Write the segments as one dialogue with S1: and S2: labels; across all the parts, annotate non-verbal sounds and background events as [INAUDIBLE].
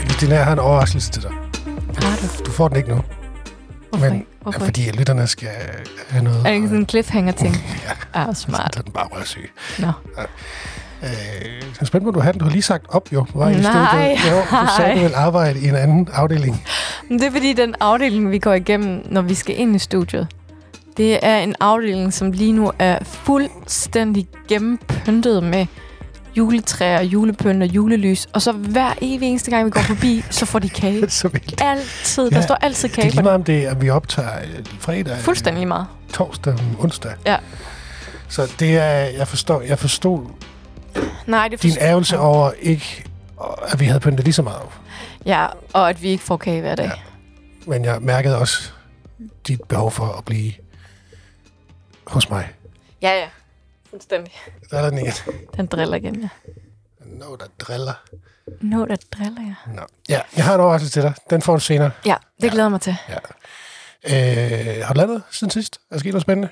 S1: Christina, jeg har en overraskelse til dig.
S2: Har du?
S1: Du får den ikke nu.
S2: Hvorfor
S1: Men-
S2: ikke? Hvorfor
S1: Ja,
S2: ikke?
S1: fordi lytterne skal have noget.
S2: Er det ikke sådan en cliffhanger-ting?
S1: [LAUGHS] Ja.
S2: Ah,
S1: Smart.
S2: smart.
S1: Så er den bare rørsyg.
S2: Nå.
S1: Øh, så spændt må du have den. Du har lige sagt op, jo. Var I
S2: Nej,
S1: Jo,
S2: [LAUGHS]
S1: du sagde,
S2: nej.
S1: du ville arbejde i en anden afdeling. [LAUGHS]
S2: Men det er fordi, den afdeling, vi går igennem, når vi skal ind i studiet, det er en afdeling, som lige nu er fuldstændig gennempyntet med juletræer, julepynt og julelys. Og så hver evig eneste gang, vi går forbi, så får de kage.
S1: Så vildt.
S2: Altid. Der
S1: Ja,
S2: står altid
S1: Det er
S2: kage på
S1: lige
S2: den.
S1: meget om det, at vi optager øh, fredag. øh,
S2: Fuldstændig lige meget.
S1: Torsdag, onsdag.
S2: Ja.
S1: Så det er, jeg forstår, jeg forstod
S2: Nej, det
S1: din
S2: forstår
S1: ærgelse
S2: jeg.
S1: over ikke, at vi havde pyntet lige så meget.
S2: Ja, og at vi ikke får kage hver dag.
S1: Ja. Men jeg mærkede også dit behov for at blive hos mig.
S2: Ja, ja. Fuldstændig.
S1: Der er den igen.
S2: Den driller igen, ja.
S1: Nå, der driller.
S2: Nå, der driller jeg.
S1: Nå. Ja, jeg har en overraskelse til dig. Den får du senere.
S2: Ja, det glæder jeg mig til.
S1: Ja. Øh, har du lavet noget siden sidst? Er der sket noget spændende?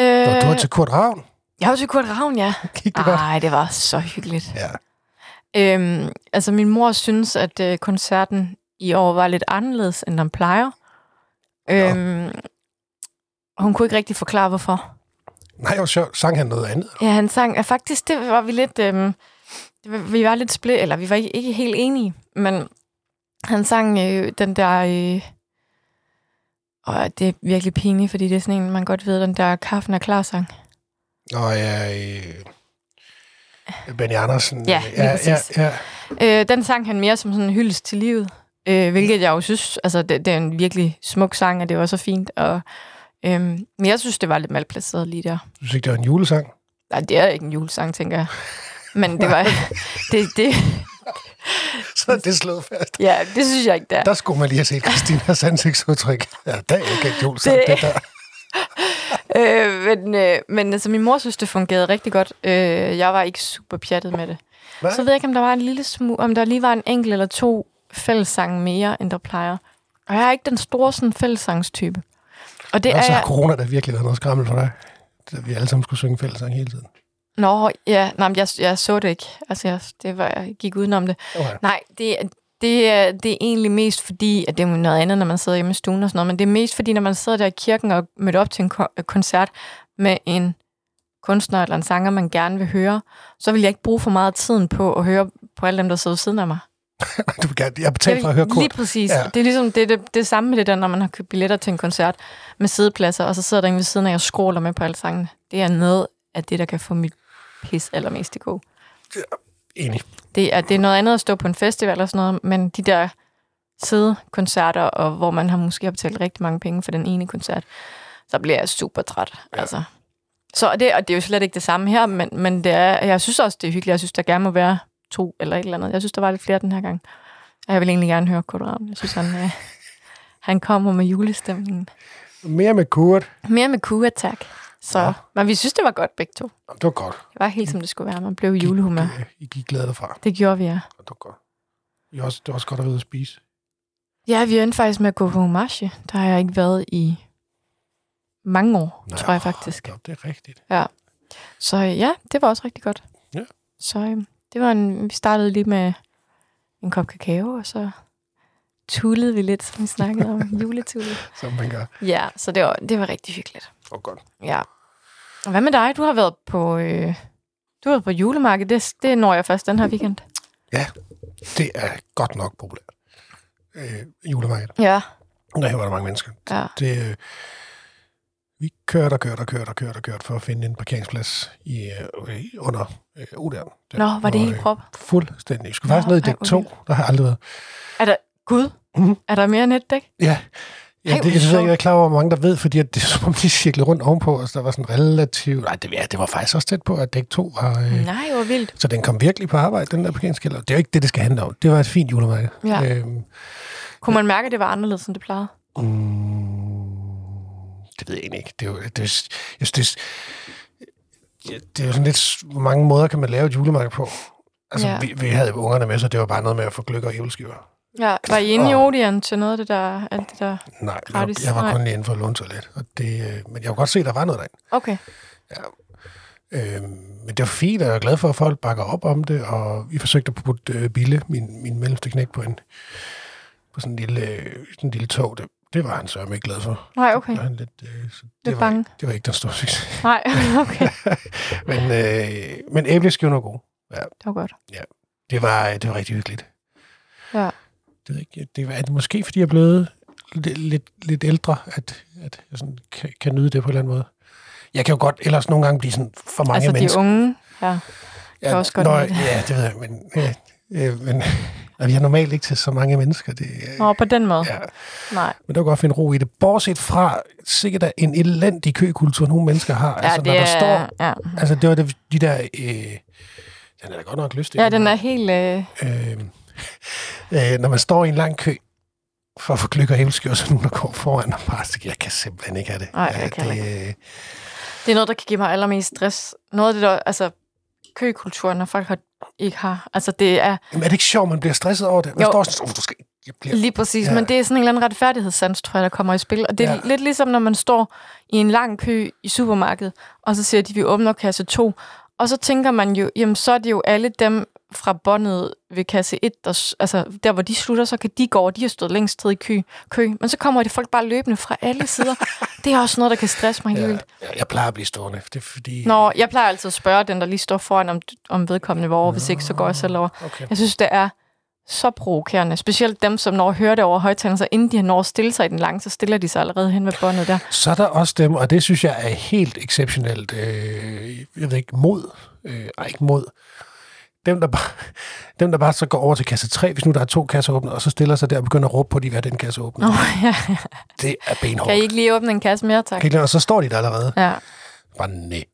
S1: Øh. ah. Nå,
S2: Øh,
S1: du var til Kurt Ravn.
S2: Jeg var til Kurt Ravn, ja.
S1: Gik det godt?
S2: Nej, det var så hyggeligt.
S1: Ja.
S2: Øhm, altså, min mor synes, at øh, koncerten i år var lidt anderledes, end den plejer. Øhm, hun kunne ikke rigtig forklare, hvorfor.
S1: Nej, hvor sjovt. Sang han noget andet?
S2: Ja, han sang, at faktisk, det var vi lidt, øhm, det var- vi var lidt split, eller vi var ikke, ikke helt enige, men han sang øh, den der, øh, og det er virkelig pinligt, fordi det er sådan en, man godt ved, den der kaffen er klar sang.
S1: Nå, ja, øh, Benny Andersen.
S2: Ja,
S1: øh,
S2: lige
S1: ja, ja,
S2: præcis.
S1: ja.
S2: Øh, den sang han mere som sådan en hyldest til livet, øh, hvilket jeg jo synes, altså det, det er en virkelig smuk sang, og det var så fint. Og, øh, men jeg synes, det var lidt malplaceret lige der.
S1: Du synes ikke, det var en julesang?
S2: Nej, det er ikke en julesang, tænker jeg. Men det var... det, det,
S1: Så er det slået fast.
S2: ja, det synes jeg ikke, det er.
S1: Der skulle man lige have set Christinas ansigtsudtryk. Ja, der er ikke en julesang, det,
S2: Det-
S1: det der.
S2: Øh, men, øh, men altså, min mor synes, det fungerede rigtig godt. Øh, jeg var ikke super pjattet med det.
S1: Nej.
S2: Så ved jeg ikke, om der var en lille smu, om der lige var en enkelt eller to fællessange mere, end der plejer. Og jeg er ikke den store sådan, fællessangstype. Og det
S1: Det er,
S2: er
S1: så har
S2: jeg...
S1: corona da virkelig været noget skrammel for dig. At vi alle sammen skulle synge fællesang hele tiden.
S2: Nå, ja, nej, men jeg, jeg så det ikke. Altså, jeg, det var, jeg gik udenom det.
S1: Okay.
S2: Nej, det, er- det, er, det er egentlig mest fordi, at det er jo noget andet, når man sidder hjemme i stuen og sådan noget, men det er mest fordi, når man sidder der i kirken og møder op til en ko- øh, koncert med en kunstner eller en sanger, man gerne vil høre, så vil jeg ikke bruge for meget af tiden på at høre på alle dem, der sidder ved siden af mig.
S1: Du vil gerne, jeg betalte for at høre
S2: Lige
S1: kort.
S2: præcis.
S1: Ja.
S2: Ja. Det er ligesom det, det, det samme med det der, når man har købt billetter til en koncert med sidepladser, og så sidder der en ved siden af, og skråler med på alle sangene. Det er noget af det, der kan få mit pis allermest i god.
S1: Enig.
S2: Det er, det er noget andet at stå på en festival og sådan noget, men de der sidekoncerter, og hvor man har måske har betalt rigtig mange penge for den ene koncert, så bliver jeg super træt. Ja. Altså. Så og det, og det er jo slet ikke det samme her, men, men det er, jeg synes også, det er hyggeligt. Jeg synes, der gerne må være to eller et eller andet. Jeg synes, der var lidt flere den her gang. Og jeg vil egentlig gerne høre Kurt Ravn. Jeg synes, han, øh, han kommer med julestemningen.
S1: Mere med Kurt.
S2: Mere med Kua, tak. Så,
S1: Ja.
S2: ja. Men vi synes, det var godt begge to.
S1: Det var godt.
S2: Det var helt, som det skulle være. Man blev i julehumør.
S1: Ja. I gik glade derfra.
S2: Det gjorde vi, ja.
S1: Det var godt. I er også, det var også godt at være ude at spise.
S2: Ja, vi endte faktisk med at gå på Omashi. Der har jeg ikke været i mange år, Nej. tror jeg faktisk.
S1: Nå, det er rigtigt.
S2: Så øh, ja, det var også rigtig godt.
S1: Ja.
S2: Så øh, det var en, vi startede lige med en kop kakao, og så tullede vi lidt, som vi snakkede
S1: [LAUGHS]
S2: om, juletullet.
S1: Som man gør.
S2: Ja, så det var, det var rigtig hyggeligt.
S1: Det var godt.
S2: Ja. Og hvad med dig? Du har været på, øh, du har været på julemarkedet. Det, det når jeg først den her weekend.
S1: Det er godt nok populært. Øh, julemarked.
S2: Ja.
S1: Der var der mange mennesker.
S2: ja.
S1: Det, øh, vi kørte og kørte og kørte og kørte og kørte for at finde en parkeringsplads i, øh, i- under øh, Oderen. Der,
S2: Nå, var det
S1: hvor,
S2: helt
S1: øh,
S2: prop?
S1: Fuldstændig. Jeg skulle
S2: Nå,
S1: faktisk ned i
S2: ej,
S1: dæk
S2: hvor
S1: 2. Der har jeg aldrig været.
S2: Er der, gud,
S1: Mhm.
S2: er der mere netdæk?
S1: Ja, ja
S2: Ej,
S1: det
S2: hvor
S1: jeg synes jeg
S2: sjovt.
S1: ikke, jeg er klar over, hvor mange der ved, fordi at det er som om, de cirklede rundt ovenpå, og så der var sådan relativt... Nej, det, ja, det var faktisk også tæt på, at dæk 2 var... Øh, mm.
S2: Nej, hvor vildt.
S1: Så den kom virkelig på arbejde, den der parkeringskælder. Det er jo ikke det, det skal handle om. Det var et fint julemarked.
S2: Ja.
S1: Øhm,
S2: Kunne man mærke, at det var anderledes, end det plejede?
S1: mm, det ved jeg egentlig ikke. Det er jo, det er, jeg synes, det, er, ja, det er jo sådan lidt... s- Hvor mange måder kan man lave et julemarked på? Altså, ja.
S2: Ja.
S1: vi, vi, havde jo ungerne med, så det var bare noget med at få gløgg og æbleskiver.
S2: Ja, var I inde i
S1: Og-
S2: Odeon til noget af det der, alt det der?
S1: Nej, jeg,
S2: Gratis,
S1: jeg, var
S2: nej.
S1: kun lige inden for at låne toilet. Og det, øh, men jeg kunne godt se, at der var noget derinde.
S2: Okay.
S1: Øh, men det var fint, og jeg er glad for, at folk bakker op om det, og vi forsøgte at putte øh, Bille, min, min mellemste knæk, på, en, på sådan en lille, øh, sådan en lille tog. Det, det var han så ikke glad for.
S2: Nej, okay.
S1: Der var Han lidt, øh, så
S2: Lidt
S1: det, var,
S2: bange.
S1: ikke- det var ikke den store succes. [LAUGHS]
S2: Nej, [LAUGHS] okay.
S1: men, øh, men æbleskiven var god.
S2: Det var godt.
S1: Det var, øh, det var rigtig hyggeligt.
S2: Ja.
S1: Det, ved ikke, jeg- det var, er det måske, fordi jeg er blevet lidt, lidt, lidt ældre, at, at jeg sådan kan, kan nyde det på en eller anden måde. Jeg kan jo godt ellers nogle gange blive sådan for mange
S2: altså,
S1: mennesker.
S2: de unge her. kan også godt
S1: nå,
S2: lide det.
S1: Ja, det ved jeg, men, øh, øh, men og vi er normalt ikke til så mange mennesker. Det, øh,
S2: Nå, på den måde.
S1: ja,
S2: Nej,
S1: men der kan godt finde ro i det. Bortset fra sikkert er en elendig køkultur, nogle mennesker har.
S2: ja,
S1: altså,
S2: det
S1: når der
S2: er...
S1: står,
S2: ja.
S1: altså, det var det, de der... Øh, den er da godt nok lystig.
S2: ja, den er helt... Øh,
S1: øh, øh, når man står i en lang kø for at få gløk og æbleskiver, og så er der nogen, der går foran og bare siger, jeg kan simpelthen ikke have det.
S2: Nej, jeg kan
S1: det, øh, ikke.
S2: det er noget, der kan give mig allermest stress. Noget af det der... Altså, køkulturen, når folk har, ikke har... Altså, det er
S1: Jamen, er det ikke sjovt, man bliver stresset over det? Man
S2: Jo.
S1: jo. står sådan, "Åh, du skal, jeg bliver,
S2: lige præcis...
S1: Ja.
S2: Men det er sådan en eller anden retfærdighedssans, tror jeg, der kommer i spil. Og det er
S1: Ja.
S2: lidt ligesom, når man står i en lang kø i supermarkedet, og så siger de, vi åbner kasse 2. Og så tænker man jo, jamen så er det jo alle dem fra båndet ved kasse 1, der, s- altså der hvor de slutter, så kan de gå over, de har stået længst tid i kø, kø. Men så kommer det folk bare løbende fra
S1: [LAUGHS]
S2: alle sider. det er også noget, der kan stresse mig helt vildt.
S1: jeg, jeg, jeg plejer at blive stående, det er fordi...
S2: Nå, jeg plejer altid at spørge den, der lige står foran, om, om vedkommende var over. Hvis ikke, så går jeg selv over.
S1: Okay.
S2: Jeg synes, det er så provokerende. Specielt dem, som når at høre det over højtalerne, så inden de har nået at stille sig i den lange, så stiller de sig allerede hen ved båndet der. [LAUGHS]
S1: Så er der også dem, og det synes jeg er helt exceptionelt, øh, jeg ved ikke, mod, øh, ej, ikke mod, dem der, bare, [LAUGHS] dem, der bare så går over til kasse 3, hvis nu der er to kasser åbnet, og så stiller sig der og begynder at råbe på, at de vil have den kasse åbnet.
S2: Nå, ja.
S1: Det er benhårdt.
S2: Kan I ikke lige åbne en kasse mere, tak?
S1: Kan I ikke lade- Og så står de der allerede.
S2: Ja.
S1: Bare nej.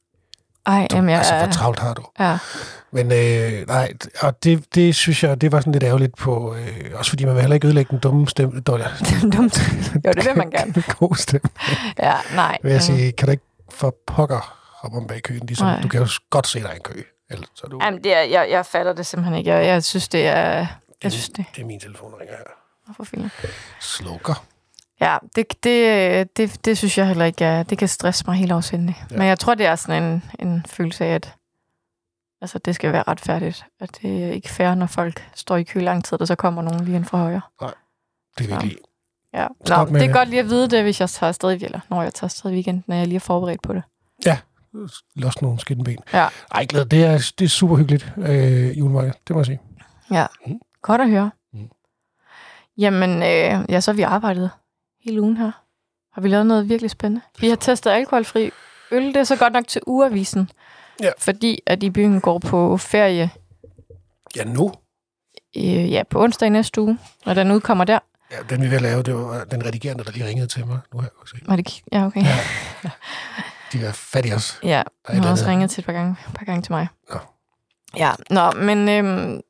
S2: Ej,
S1: Du,
S2: jamen, jeg,
S1: altså, hvor
S2: er-
S1: travlt har du?
S2: ja. [LAUGHS]
S1: Men øh, nej, og det, det synes jeg, det var sådan lidt ærgerligt på, øh, også fordi man vil heller ikke ødelægge den dumme stemme, dårlig,
S2: Det er dumt. Jo, det vil man gerne.
S1: [LAUGHS] god stemme,
S2: Ja, nej.
S1: vil jeg sige, kan du ikke for pokker hoppe om bag køen, ligesom
S2: Nej.
S1: nej. du kan jo godt se dig i en kø, ellers så er du,
S2: Jamen, det er, jeg, jeg fatter det simpelthen ikke. Jeg, jeg synes, det er... Jeg synes, det
S1: det er min telefon, der ringer her,
S2: er for fint.
S1: slukker.
S2: Ja, det, det, det, det synes jeg heller ikke er, Det kan stresse mig helt afsindelig. Ja.
S1: Ja.
S2: Men jeg tror, det er sådan en, en følelse af, at altså, det skal være retfærdigt. At det er ikke fair, når folk står i kø lang tid, og så kommer nogen lige ind fra højre.
S1: Det vil jeg
S2: Ja.
S1: ikke lide.
S2: Ja. Nå,
S1: Stop med
S2: det er
S1: det.
S2: godt lige at vide det, hvis jeg tager afsted i eller når jeg tager afsted i weekenden, når jeg lige er forberedt på det.
S1: Lost nogle skidtenben.
S2: Ja.
S1: Ej, glæd, det er, det er super hyggeligt, øh, julemarked, det må jeg sige.
S2: Godt at høre. Mm.
S1: Mm.
S2: Jamen, øh, ja, så har vi arbejdet hele ugen her. Har vi lavet noget virkelig spændende? Vi har testet alkoholfri øl. Det er så godt nok til ugeavisen.
S1: Ja.
S2: Fordi at i byen går på ferie
S1: Ja, nu.
S2: øh, ja, på onsdag i næste uge, når den udkommer der.
S1: Ja, den vi er ved at lave, det var den redigerende, der lige ringede til mig. Nu har jeg også
S2: Var det, ki- ja, okay.
S1: Ja. De er fat i os.
S2: Ja,
S1: Der er
S2: hun
S1: et
S2: har også
S1: eller andet.
S2: ringet til et par gange, et par gange til mig.
S1: Nå.
S2: Ja, nå, men øhm,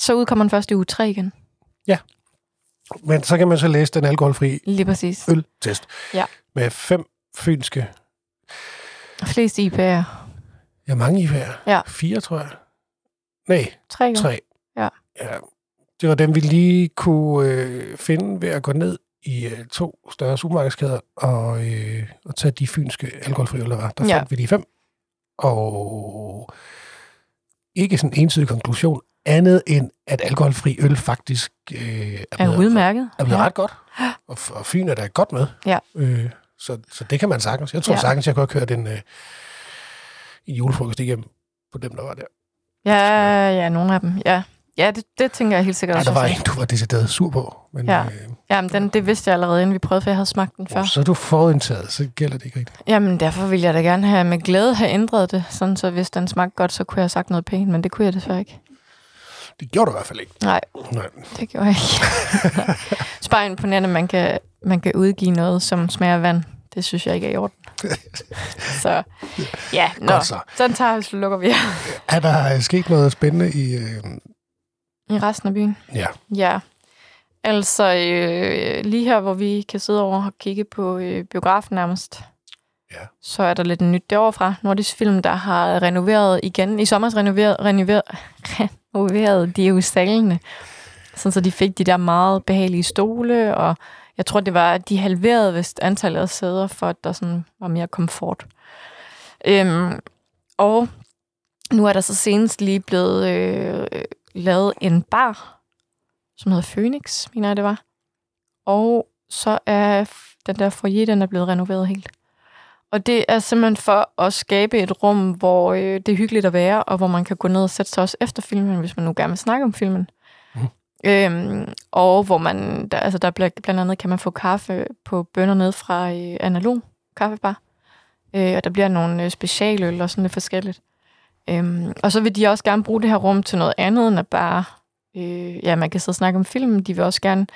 S2: så udkommer den først i uge 3 igen.
S1: Men så kan man så læse den alkoholfri
S2: Lige præcis.
S1: øltest.
S2: Ja.
S1: Med fem fynske,
S2: Flest IPA'er.
S1: ja mange i hver.
S2: Ja.
S1: Fire, tror jeg. Nej,
S2: Tre, jo.
S1: tre.
S2: Ja.
S1: ja. Det var dem, vi lige kunne øh, finde ved at gå ned i øh, to større supermarkedskæder og, øh, og tage de fynske alkoholfri øl, der var. Der
S2: Ja.
S1: ja. fandt vi de fem. Og ikke sådan en entydig konklusion, andet end, at alkoholfri øl faktisk øh, er,
S2: Er udmærket.
S1: er blevet
S2: Ja.
S1: ja. ret godt. Og, f- og Fyn er da godt med.
S2: Ja.
S1: Øh, så, så det kan man sagtens. Jeg tror
S2: Ja.
S1: ja. sagtens, jeg godt køre den øh, en julefrokost igennem på dem, der var der.
S2: Ja, ja, nogle af dem, ja. Ja, det, det tænker jeg helt sikkert
S1: Nej,
S2: også.
S1: der var
S2: jeg
S1: en, du var decideret sur på. Men,
S2: Ja.
S1: ja. øh,
S2: sagde. Jamen, den, det vidste jeg allerede, inden vi prøvede, for jeg havde smagt den før.
S1: oh, så er du fororienteret, så gælder det ikke rigtigt.
S2: Jamen, derfor ville jeg da gerne have med glæde have ændret det, sådan så hvis den smagte godt, så kunne jeg have sagt noget pænt, men det kunne jeg desværre ikke.
S1: Det gjorde du i hvert fald ikke.
S2: Nej,
S1: Nej.
S2: det gjorde jeg
S1: [LAUGHS]
S2: ikke. Det er bare imponerende, at man kan, man kan udgive noget, som smager af vand. Det synes jeg ikke er i
S1: [LAUGHS]
S2: orden. så ja, nå.
S1: Godt så.
S2: Sådan tager vi, så lukker vi af
S1: Er der øh, sket noget spændende i... Øh,
S2: i resten af byen.
S1: ja,
S2: Ja. Altså, øh, lige her, hvor vi kan sidde over og kigge på øh, biografen nærmest,
S1: Ja.
S2: så er der lidt nyt derovre fra. Nordisk Film, der har renoveret igen. I sommer renoveret, renoveret, renoveret de jo salene. Sådan, så de fik de der meget behagelige stole, og jeg tror, det var, at de halverede vist antallet af sæder, for at der sådan var mere komfort. Øhm, og nu er der så senest lige blevet øh, øh, lavet en bar, som hedder Phoenix, mener jeg det var. Og så er f- den der foyer, den er blevet renoveret helt. Og det er simpelthen for at skabe et rum, hvor øh, det er hyggeligt at være, og hvor man kan gå ned og sætte sig også efter filmen, hvis man nu gerne vil snakke om filmen.
S1: Mhm.
S2: Øhm, og hvor man, der, altså der bliver, blandt andet kan man få kaffe på bønder ned fra øh, analog kaffebar. Øh, og der bliver nogle øh, specialøl og sådan lidt forskelligt. Øhm, og så vil de også gerne bruge det her rum til noget andet end at bare, øh, ja, man kan sidde og snakke om film. De vil også gerne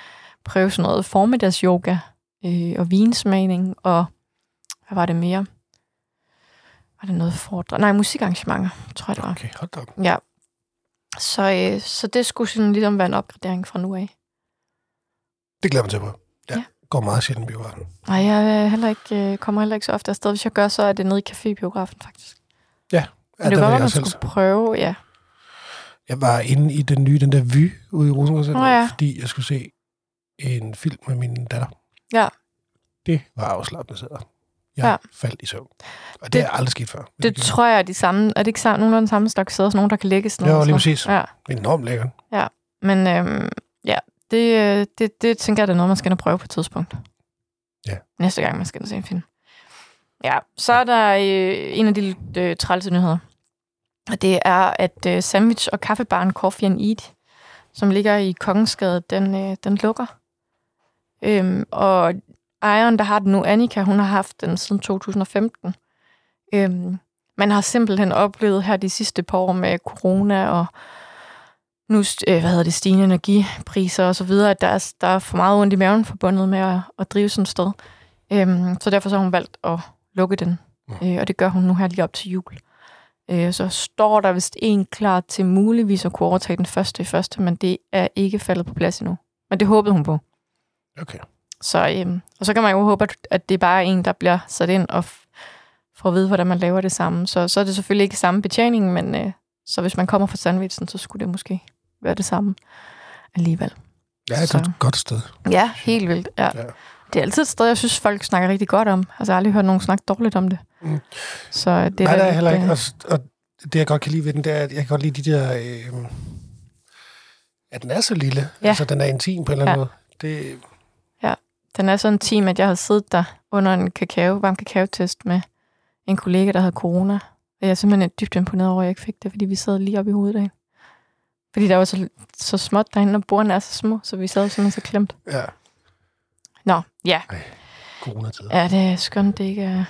S2: prøve sådan noget formiddagsyoga øh, og vinsmagning og, hvad var det mere? Var det noget foredrag? Nej, musikarrangementer, tror jeg det var.
S1: Okay, hold da op.
S2: Ja. Så, øh, så det skulle sådan ligesom være en opgradering fra nu af.
S1: Det glæder jeg mig til at prøve. Ja.
S2: Ja.
S1: ja. Går meget sjældent i biografen.
S2: Nej, jeg er heller ikke, øh, kommer heller ikke så ofte afsted. Hvis jeg gør, så er det nede i cafébiografen, faktisk.
S1: Ja,
S2: Men det
S1: der
S2: var,
S1: vil jeg
S2: godt, man
S1: også helst.
S2: skulle prøve, ja.
S1: Jeg var inde i den nye, den der Vy ude i Rosenborg Center,
S2: Nå ja.
S1: ja. fordi jeg skulle se en film med min datter.
S2: Ja.
S1: Det var afslappende sæder. Jeg
S2: Ja.
S1: ja. faldt i søvn. Og det,
S2: Det-
S1: det er aldrig sket før. Men
S2: Det tror jeg er de samme. Er det ikke sammen, nogen af den samme slags sæder, sådan nogen, der kan lægges?
S1: Jo,
S2: og
S1: lige
S2: sådan
S1: præcis.
S2: noget? Ja,
S1: det er enormt lækkert.
S2: men øhm, ja, det, øh, det, det tænker jeg, det er noget, man skal ind og prøve på et tidspunkt.
S1: Ja.
S2: Næste gang, man skal ind og se en film. Ja, så er der øh, en af de lidt, øh, trælse nyheder. Og det er, at øh, sandwich- og kaffebaren Coffee and Eat, som ligger i Kongensgade, den, øh, den lukker. Øhm, og ejeren, der har den nu, Annika, hun har haft den siden 2015. Øhm, man har simpelthen oplevet her de sidste par år med corona og nu, st- øh, hvad hedder det, stigende energipriser og så videre, at der er, der er for meget ondt i maven forbundet med at, at drive sådan et sted. Øhm, så derfor så har hun valgt at lukke den,
S1: Mm.
S2: øh, og det gør hun nu her lige op til jul. Øh, så står der vist en klar til muligvis at kunne overtage den første i første, men det er ikke faldet på plads endnu. Men det håbede hun på.
S1: Okay.
S2: Så, øhm, og så kan man jo håbe, at- at det er bare en, der bliver sat ind og f- får at vide, hvordan man laver det samme. Så, så er det selvfølgelig ikke samme betjening, men øh, så hvis man kommer fra sandvitsen, så skulle det måske være det samme alligevel.
S1: Ja, det er et
S2: Så-
S1: godt, godt sted.
S2: Ja, helt vildt. Ja.
S1: Ja.
S2: Det er altid et sted, jeg synes, folk snakker rigtig godt om. Altså, jeg har aldrig hørt nogen snakke dårligt om det.
S1: Mm.
S2: Så øh, det
S1: Det
S2: er
S1: Nej,
S2: da
S1: der er
S2: lidt,
S1: heller ikke.
S2: øh,
S1: Og, s- og det, jeg godt kan lide ved den, det er, at jeg kan godt lide de der... Øh, at den er så lille.
S2: Ja.
S1: Ja. Altså, den er intim på en eller anden ja.
S2: Ja.
S1: måde. Det,
S2: Den er så intim, at jeg har siddet der under en kakao, varm kakaotest med en kollega, der havde corona. Og jeg er simpelthen dybt imponeret over, at jeg ikke fik det, fordi vi sad lige oppe i hovedet af hende. Fordi der var så, så småt derinde, og bordene er så små, så vi sad simpelthen så klemt.
S1: ja,
S2: Nå, ja.
S1: coronatider. Ja.
S2: Ja, det er skønt, det ikke er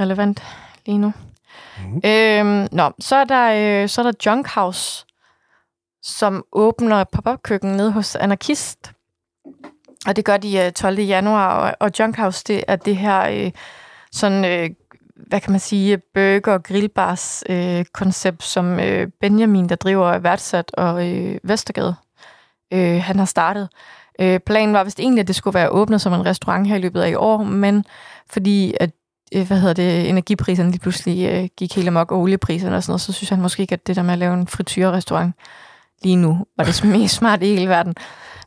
S2: relevant lige nu.
S1: Mhm.
S2: Øhm, nå, så er der, øh, så er der Junk House, som åbner et pop-up køkken nede hos Anarkist. Og det gør de øh, 12. januar, og, og Junk House, det er det her øh, sådan, øh, hvad kan man sige, burger- og grillbars øh, koncept, som øh, Benjamin, der driver værtsat og øh, Vestergade, øh, han har startet. Øh, planen var vist egentlig, at det skulle være åbnet som en restaurant her i løbet af i år, men fordi at øh, hvad hedder det, energipriserne lige pludselig øh, gik helt amok, og oliepriserne og sådan noget, så synes han måske ikke, at det der med at lave en frityrerestaurant lige nu, var det mest smart i hele verden.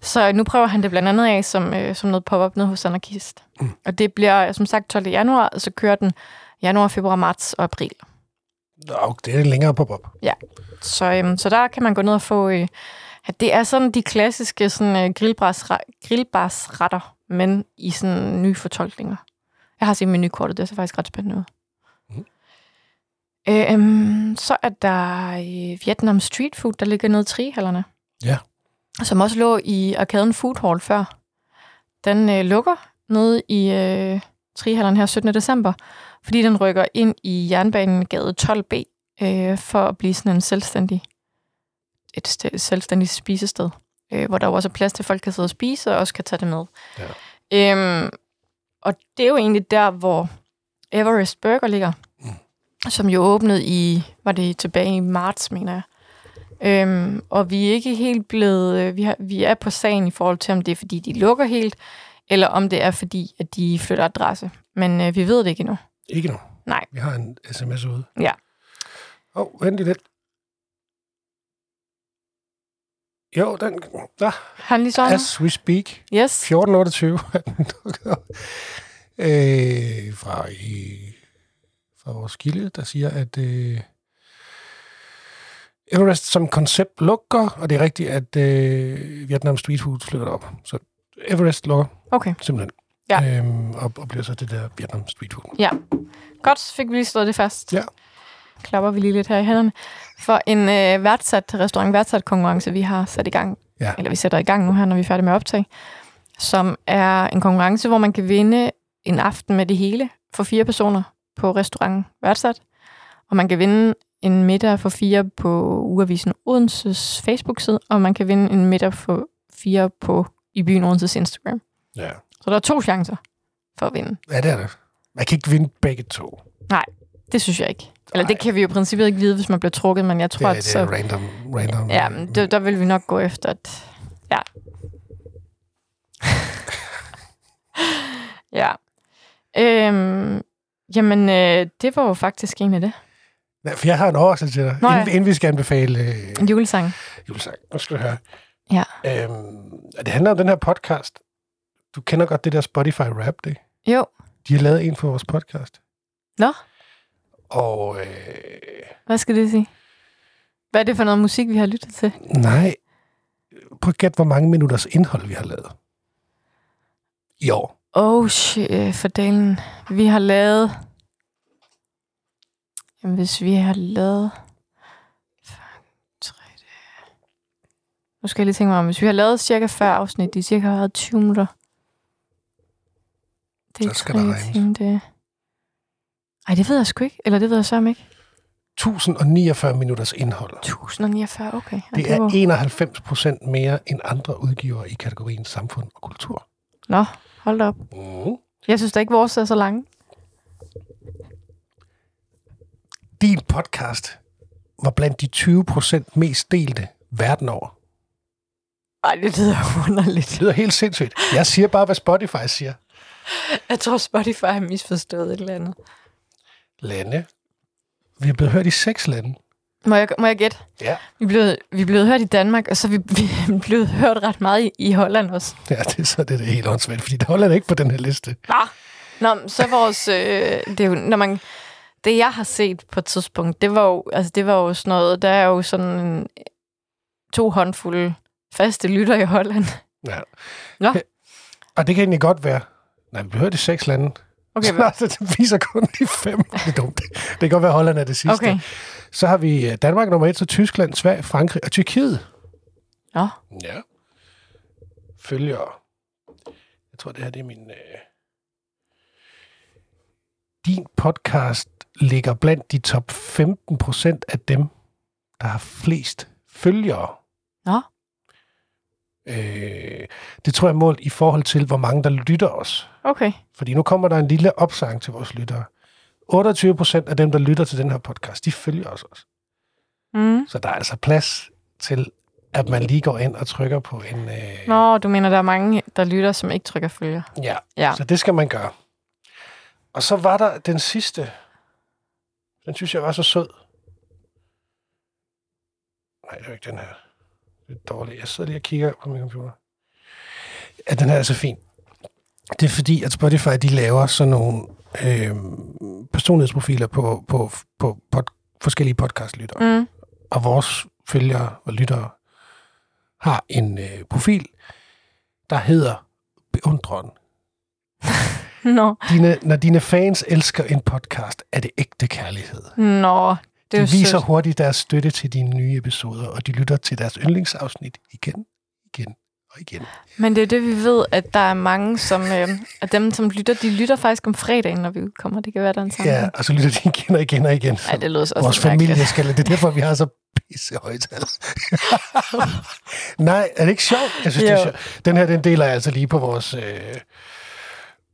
S2: Så nu prøver han det blandt andet af som, øh, som noget pop-up nede hos Anarkist. Mm. Og det bliver, som sagt, 12. januar, og så kører den januar, februar, marts og april.
S1: Nå, det er en længere pop-up.
S2: Så, øhm, så der kan man gå ned og få... Øh, at det er sådan de klassiske sådan, øh, grillbars- grillbarsretter, men i sådan nye fortolkninger. Jeg har set menukortet, det ser faktisk ret spændende ud.
S1: Mhm.
S2: Øhm, så er der øh, Vietnam Street Food, der ligger nede i Trihallerne.
S1: Ja.
S2: Som også lå i arkaden Food Hall før. Den øh, lukker nede i øh, Trihallerne her 17. december, fordi den rykker ind i Jernbanegade 12B øh, for at blive sådan en selvstændig, et st- selvstændigt spisested, øh, hvor der jo også er plads til, at folk kan sidde og spise, og også kan tage det med. Ja. Øhm, og det er jo egentlig der, hvor Everest Burger ligger,
S1: Mm.
S2: som jo åbnede i, var det tilbage i marts, mener jeg. Øhm, og vi er ikke helt blevet, øh, vi, har, vi er på sagen i forhold til, om det er, fordi de lukker helt, eller om det er, fordi at de flytter adresse. Men øh, vi ved det ikke endnu.
S1: Ikke nu.
S2: Nej.
S1: Vi har en sms ude.
S2: Ja.
S1: Åh, oh, vent lige lidt. Jo, den... Ah,
S2: Han lige sådan?
S1: as we speak, 14.28 [LAUGHS]
S2: Yes.
S1: er den dukket op. Øh, fra, i, fra vores kilde, der siger, at øh, Everest som koncept lukker, og det er rigtigt, at øh, Vietnam Street Food flytter op. Så Everest lukker
S2: Okay,
S1: simpelthen.
S2: Ja.
S1: Øhm, og, og bliver så det der Vietnam Street Food.
S2: ja. Godt, så fik vi lige slået det fast.
S1: Ja.
S2: Klapper vi lige lidt her i hænderne. For en øh, værtsat restaurant, værtsat konkurrence, vi har sat i gang,
S1: Ja.
S2: eller vi sætter i gang nu her, når vi er færdige med optag, som er en konkurrence, hvor man kan vinde en aften med det hele for fire personer på restaurant værtsat. Og man kan vinde en middag for fire på Ugeavisen Odenses Facebook-side, og man kan vinde en middag for fire på i byen Odenses Instagram.
S1: Ja.
S2: Så der er to chancer for at vinde.
S1: ja, det er det. Man kan ikke vinde begge to.
S2: Det synes jeg ikke. Eller det
S1: Nej.
S2: kan vi jo i princippet ikke vide, hvis man bliver trukket, men jeg
S1: Det
S2: tror,
S1: er,
S2: at
S1: det er
S2: så...
S1: random. random øh,
S2: Ja, men det, der vil vi nok gå efter, at...
S1: [LAUGHS]
S2: Ja. ja. Øhm, jamen, øh, det var jo faktisk en af det.
S1: Ja, for jeg har en overraskelse til dig,
S2: Nå ja.
S1: inden, inden vi skal anbefale øh,
S2: En julesang.
S1: julesang. Nu skal du høre.
S2: Ja.
S1: Øhm, og det handler om den her podcast. Du kender godt det der Spotify Rap, det?
S2: Jo.
S1: De har lavet en for vores podcast.
S2: Nå.
S1: Og øh,
S2: Hvad skal det sige? Hvad er det for noget musik, vi har lyttet til?
S1: nej, prøv at gætte, hvor mange minutters indhold vi har lavet. I år.
S2: Oh shit, for delen. Vi har lavet... Jamen, hvis vi har lavet... Tre dage. Nu skal jeg lige tænke mig om, hvis vi har lavet cirka 40 afsnit, de cirka har 20 minutter. Det er
S1: Så skal
S2: tre
S1: der regnes.
S2: timer, det... er- Ej, det ved jeg sgu ikke. Eller det ved jeg så om ikke.
S1: 1049 minutters indhold.
S2: 1049, okay. Ej,
S1: Det er
S2: var-
S1: 91 procent mere end andre udgivere i kategorien samfund og kultur.
S2: Nå, hold da op.
S1: Mm.
S2: Jeg synes da ikke, vores er så lange.
S1: Din podcast var blandt de 20 procent mest delte verden over.
S2: Ej, det lyder [LAUGHS] underligt.
S1: Det lyder helt sindssygt. Jeg siger bare, hvad Spotify siger.
S2: Jeg tror, Spotify har misforstået et eller andet.
S1: Lande. Vi er blevet hørt i seks lande.
S2: Må jeg, må jeg gætte?
S1: Ja.
S2: Vi blev, vi blev hørt i Danmark, og så er vi, [LAUGHS] vi blev hørt ret meget i, i Holland også.
S1: Ja, det er så det, er helt åndssvagt, fordi der holder det ikke på den her liste.
S2: Nå, Nå men så vores... Øh, det, er jo, når man, det, jeg har set på et tidspunkt, det var jo, altså, det var jo sådan noget... Der er jo sådan to håndfulde faste lytter i Holland.
S1: Ja.
S2: Nå.
S1: Og det kan egentlig godt være. Nej, vi blev hørt i seks lande.
S2: [LAUGHS] Okay,
S1: [LAUGHS]
S2: [LAUGHS]
S1: Så altså, det viser kun de fem. Det er dumt. Det kan godt være, Holland er det sidste.
S2: okay.
S1: Så har vi øh, Danmark nummer et, så Tyskland, Sverige, Frankrig og Tyrkiet.
S2: Nå,
S1: Ja. Følger. Jeg tror, det her det er min... Øh... Din podcast ligger blandt de top 15 procent af dem, der har flest følgere.
S2: Nå.
S1: Øh, det tror jeg er målt i forhold til, hvor mange der lytter os.
S2: okay.
S1: Fordi nu kommer der en lille opsang til vores lyttere. 28 procent af dem, der lytter til den her podcast, de følger os også.
S2: Mm.
S1: Så der er altså plads til, at man lige går ind og trykker på en... Øh,
S2: Nå, du mener, der er mange, der lytter, som ikke trykker følger.
S1: Ja,
S2: Ja.
S1: så det skal man gøre. Og så var der den sidste. Den synes jeg var så sød. Nej, det er jo ikke den her. Det er dårligt. Jeg sidder lige og kigger på min computer. Ja, den her er så fin. Det er fordi, at Spotify de laver sådan nogle øh, personlighedsprofiler på, på, på pod, forskellige podcastlyttere
S2: Mm. [LAUGHS]
S1: og vores følgere og lyttere har en øh, profil, der hedder Beundren.
S2: Nå.
S1: Dine, når dine fans elsker en podcast, er det ægte kærlighed.
S2: Nå, det
S1: De
S2: er jo
S1: viser
S2: sødt.
S1: hurtigt deres støtte til dine nye episoder, og de lytter til deres yndlingsafsnit igen, igen og igen.
S2: Men det er det, vi ved, at der er mange, som, øh, at dem, som lytter, de lytter faktisk om fredagen, når vi udkommer. Det kan være, der er en sammenhæng.
S1: Ja, og så lytter de igen og igen og igen.
S2: Ej, det lyder også
S1: Vores
S2: mærkeligt.
S1: familie skal... Det er derfor, vi har så pisse højtal. Nej, er det ikke sjovt? Jeg synes, det er
S2: Jo.
S1: sjovt. Den her, den deler jeg altså lige på vores... Øh,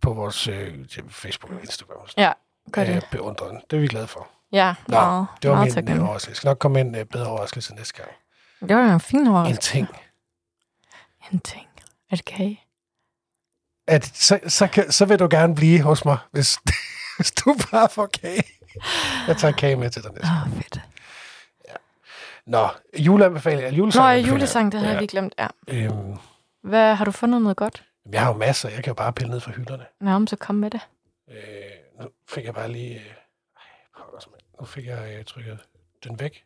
S1: på vores øh, Facebook og Instagram. Øh,
S2: Ja, gør det.
S1: beundrende. Det er vi glade for.
S2: Ja,
S1: Nå,
S2: meget,
S1: Det var
S2: meget
S1: min øh,
S2: taknemmelig.
S1: overraskelse. Jeg skal nok komme med en øh, bedre overraskelse næste gang.
S2: Det var en fin
S1: En
S2: overraskelse.
S1: ting.
S2: En ting. Er det kage?
S1: At, så, så, kan, så vil du gerne blive hos mig, hvis, [LAUGHS] hvis du bare får kage. Jeg tager kage med til dig næste.
S2: Åh, oh, fedt.
S1: Nå, juleanbefalinger.
S2: Nå,
S1: Julesang
S2: ja, julesang, det havde ja. vi glemt. Ja.
S1: Øhm,
S2: Hvad, har du fundet noget godt?
S1: jeg har jo masser. Jeg kan jo bare pille ned fra hylderne.
S2: Nå, men så kom med det.
S1: Øh, nu fik jeg bare lige... Øh, ej, Nu fik jeg øh, trykket den væk.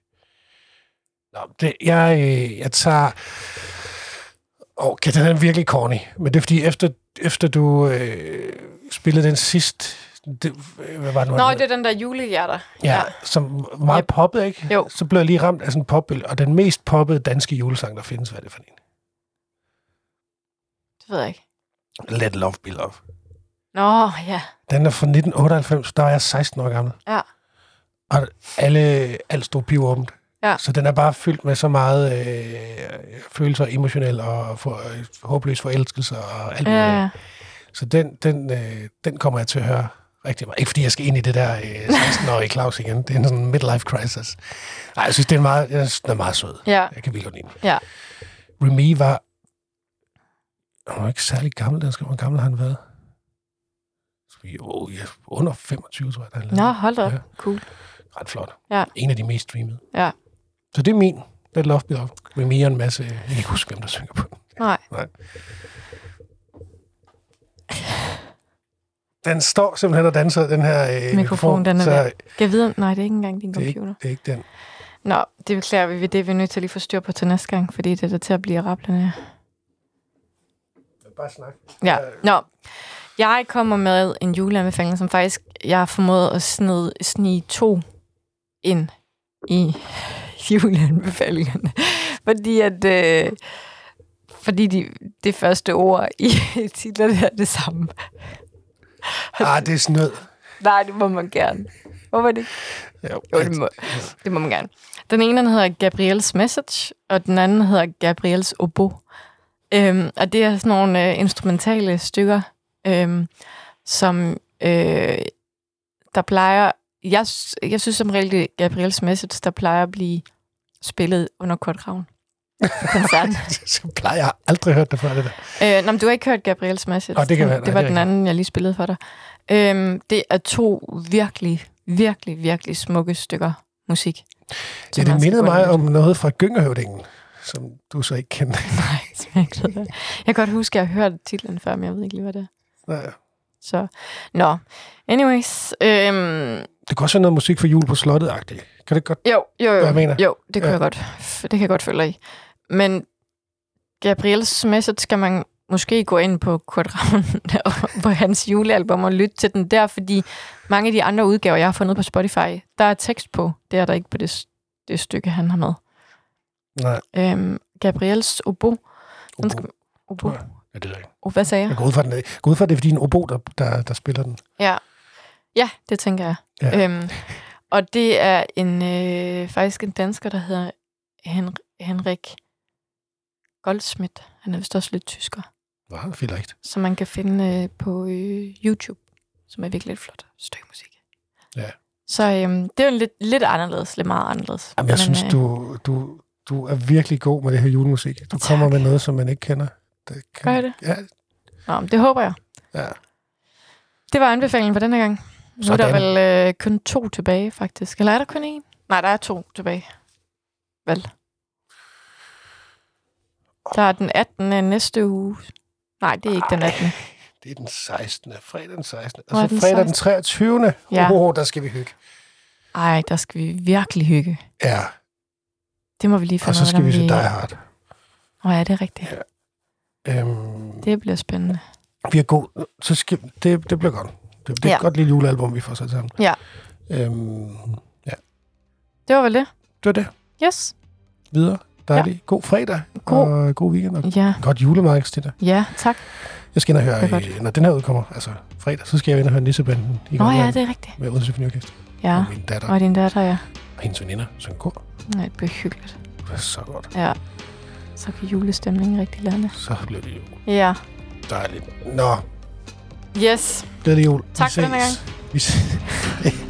S1: Nå, det, jeg, øh, jeg tager... Okay, den er virkelig corny. Men det er fordi, efter, efter du øh, spillede den sidst... Det, øh, hvad var det, nu,
S2: Nå,
S1: han
S2: det
S1: hed?
S2: er den der julehjerter.
S1: ja, ja, som var meget
S2: Yep.
S1: poppet, ikke?
S2: Jo.
S1: Så blev jeg lige ramt af sådan en popbølge. Og den mest poppede danske julesang, der findes, hvad er det for en?
S2: Det ved jeg ikke.
S1: Let Love Be Love.
S2: Nå, ja.
S1: Den er fra 1998, der var jeg 16 år gammel.
S2: Ja.
S1: Og alle, alt stod pivåbent.
S2: Ja.
S1: Så den er bare fyldt med så meget øh, følelser, emotionel og for, øh, håbløs forelskelse og alt muligt.
S2: Øh,
S1: Så den, den, øh, den kommer jeg til at høre rigtig meget. Ikke fordi jeg skal ind i det der øh, 16-årige Claus igen. Det er en sådan midlife crisis. Nej, jeg synes, det er meget, jeg synes, den er meget sød.
S2: ja.
S1: Jeg kan vildt godt lide den.
S2: Ja.
S1: Remy var... Han var ikke særlig gammel, da han skrev. Hvor gammel har han været? Jo, ja, under 25, tror jeg, da han lavede
S2: Nå,
S1: den.
S2: hold da op.
S1: Ja.
S2: Cool.
S1: Ret flot.
S2: Ja.
S1: En af de mest streamede.
S2: Ja.
S1: Så det er min. Let Love Be Love. Remy og en masse... Jeg kan ikke huske, hvem der synger på den.
S2: Nej.
S1: Nej. Den står simpelthen og danser, den her øh, mikrofon.
S2: den er
S1: så
S2: væk. Kan jeg vide? Nej, det er ikke engang din
S1: det er, ikke,
S2: computer.
S1: det er ikke den.
S2: Nå, det beklager vi. Det er vi nødt til lige at få styr på til næste gang, fordi det er der til at blive rablende.
S1: Bare snak.
S2: Ja, nå. Jeg kommer med en juleanbefaling, som faktisk jeg har formået at snide, snige to ind i [LAUGHS] juleanbefalingerne. Fordi at... Øh, fordi de, det første ord i [LAUGHS] titlerne er det samme.
S1: Ah, det er snød.
S2: Nej, det må man gerne. Hvorfor det ikke? Jo, det må, det må man gerne. Den ene den hedder Gabriels Message, og den anden hedder Gabriels Obo. Øhm, og det er sådan nogle øh, instrumentale stykker, øhm, som øh, der plejer... Jeg, s- jeg synes som regel, at Gabriels Message, der plejer at blive spillet under Kurt Ravn.
S1: [LAUGHS]
S2: Koncerten.
S1: så plejer jeg aldrig hørt det før, det der.
S2: Øh, nå, men du har ikke hørt Gabriels Message.
S1: Nå, det kan være, nej,
S2: det var
S1: det er
S2: den
S1: rigtigt.
S2: anden, jeg lige spillede for dig. Øhm, det er to virkelig, virkelig, virkelig smukke stykker musik.
S1: Ja,
S2: som
S1: det
S2: altså
S1: mindede
S2: går
S1: mig
S2: ind i-
S1: om noget fra Gyngehøvdingen, som du så ikke kendte.
S2: [LAUGHS] Nej, som jeg ikke ved det. Jeg kan godt huske, at jeg har hørt titlen før, men jeg ved ikke lige, hvad det er.
S1: Nej.
S2: Så, nå. Anyways, øhm,
S1: Det kunne også være noget musik for jul på slottet -agtigt. Kan det godt?
S2: jo, jo, jo,
S1: Hvad jeg mener?
S2: jo, det kan
S1: Ja.
S2: jeg godt, f- det kan jeg godt følge dig i. Men Gabriels message skal man måske gå ind på Kurt Ravn [LAUGHS] og på hans julealbum og lytte til den der, fordi mange af de andre udgaver, jeg har fundet på Spotify, der er tekst på. Det er der ikke på det, s- det stykke, han har med.
S1: Nej.
S2: Øhm, Gabriels obo. Den
S1: Obo.
S2: skal- Obo.
S1: Ja. Ja, det ved jeg ikke.
S2: Oh, hvad sagde jeg?
S1: Jeg går ud fra, den, jeg går ud fra at det er, fordi en obo, der, der, der spiller den.
S2: Ja, det tænker jeg.
S1: Ja.
S2: Ja. Øhm, og det er en øh, faktisk en dansker, der hedder Hen- Henrik Goldsmith. Han er vist også lidt tysker,
S1: Hvad? Vielleicht.
S2: som man kan finde øh, på øh, YouTube, som er virkelig et flot stykke musik.
S1: Ja.
S2: Så øhm, det er jo lidt, lidt anderledes, lidt meget anderledes.
S1: Jamen, jeg Men, synes,
S2: øh,
S1: du, du, du er virkelig god med det her julemusik. Du kommer
S2: Tak.
S1: med noget, som man ikke kender. Det kan,
S2: Gør jeg det?
S1: Ja,
S2: Nå, men det håber jeg.
S1: ja.
S2: Det var anbefalingen for denne gang. Nu er der
S1: Sådan.
S2: vel øh, kun to tilbage, faktisk. Eller er der kun én? Nej, der er to tilbage. Vel. Der er den 18. næste uge. Nej, det er ikke den 18.
S1: Det er den 16. Fredag den 16.
S2: Hvor er
S1: Altså
S2: den
S1: fredag den 23.
S2: Ja.
S1: Oh, der skal vi hygge.
S2: Ej, der skal vi virkelig hygge.
S1: Ja,
S2: Det må vi lige finde
S1: og så
S2: ud af,
S1: skal
S2: om
S1: vi se Die Hard.
S2: Nå ja, det er rigtigt.
S1: Øhm,
S2: Det bliver spændende.
S1: vi er god. Så skal, det, det bliver godt. Det, det er ja.
S2: Ja.
S1: et godt lille julealbum, vi får sat sammen.
S2: Ja.
S1: Øhm, ja,
S2: Det var vel det?
S1: det var det.
S2: Yes.
S1: Videre. Dejlig. Ja. God fredag.
S2: God-
S1: Og god weekend. Og
S2: Ja,
S1: godt julemarked til dig.
S2: ja tak.
S1: Jeg skal ind og
S2: Det er
S1: høre,
S2: godt.
S1: øh, når den her udkommer, altså fredag, så skal jeg ind og høre Nissebanden i
S2: Nå ja,
S1: Grønland
S2: det er rigtigt.
S1: med Odense Symfoniorkester.
S2: Ja,
S1: Og min datter
S2: og din datter, ja.
S1: og hendes veninder synger kor.
S2: Nej, det bliver hyggeligt.
S1: Det var så godt.
S2: Ja. Så kan julestemningen rigtig lande.
S1: Så blev det jo
S2: Ja.
S1: dejligt. Nå,
S2: Yes.
S1: glædelig jul. Vi
S2: Tak for denne
S1: ses. Vi ses.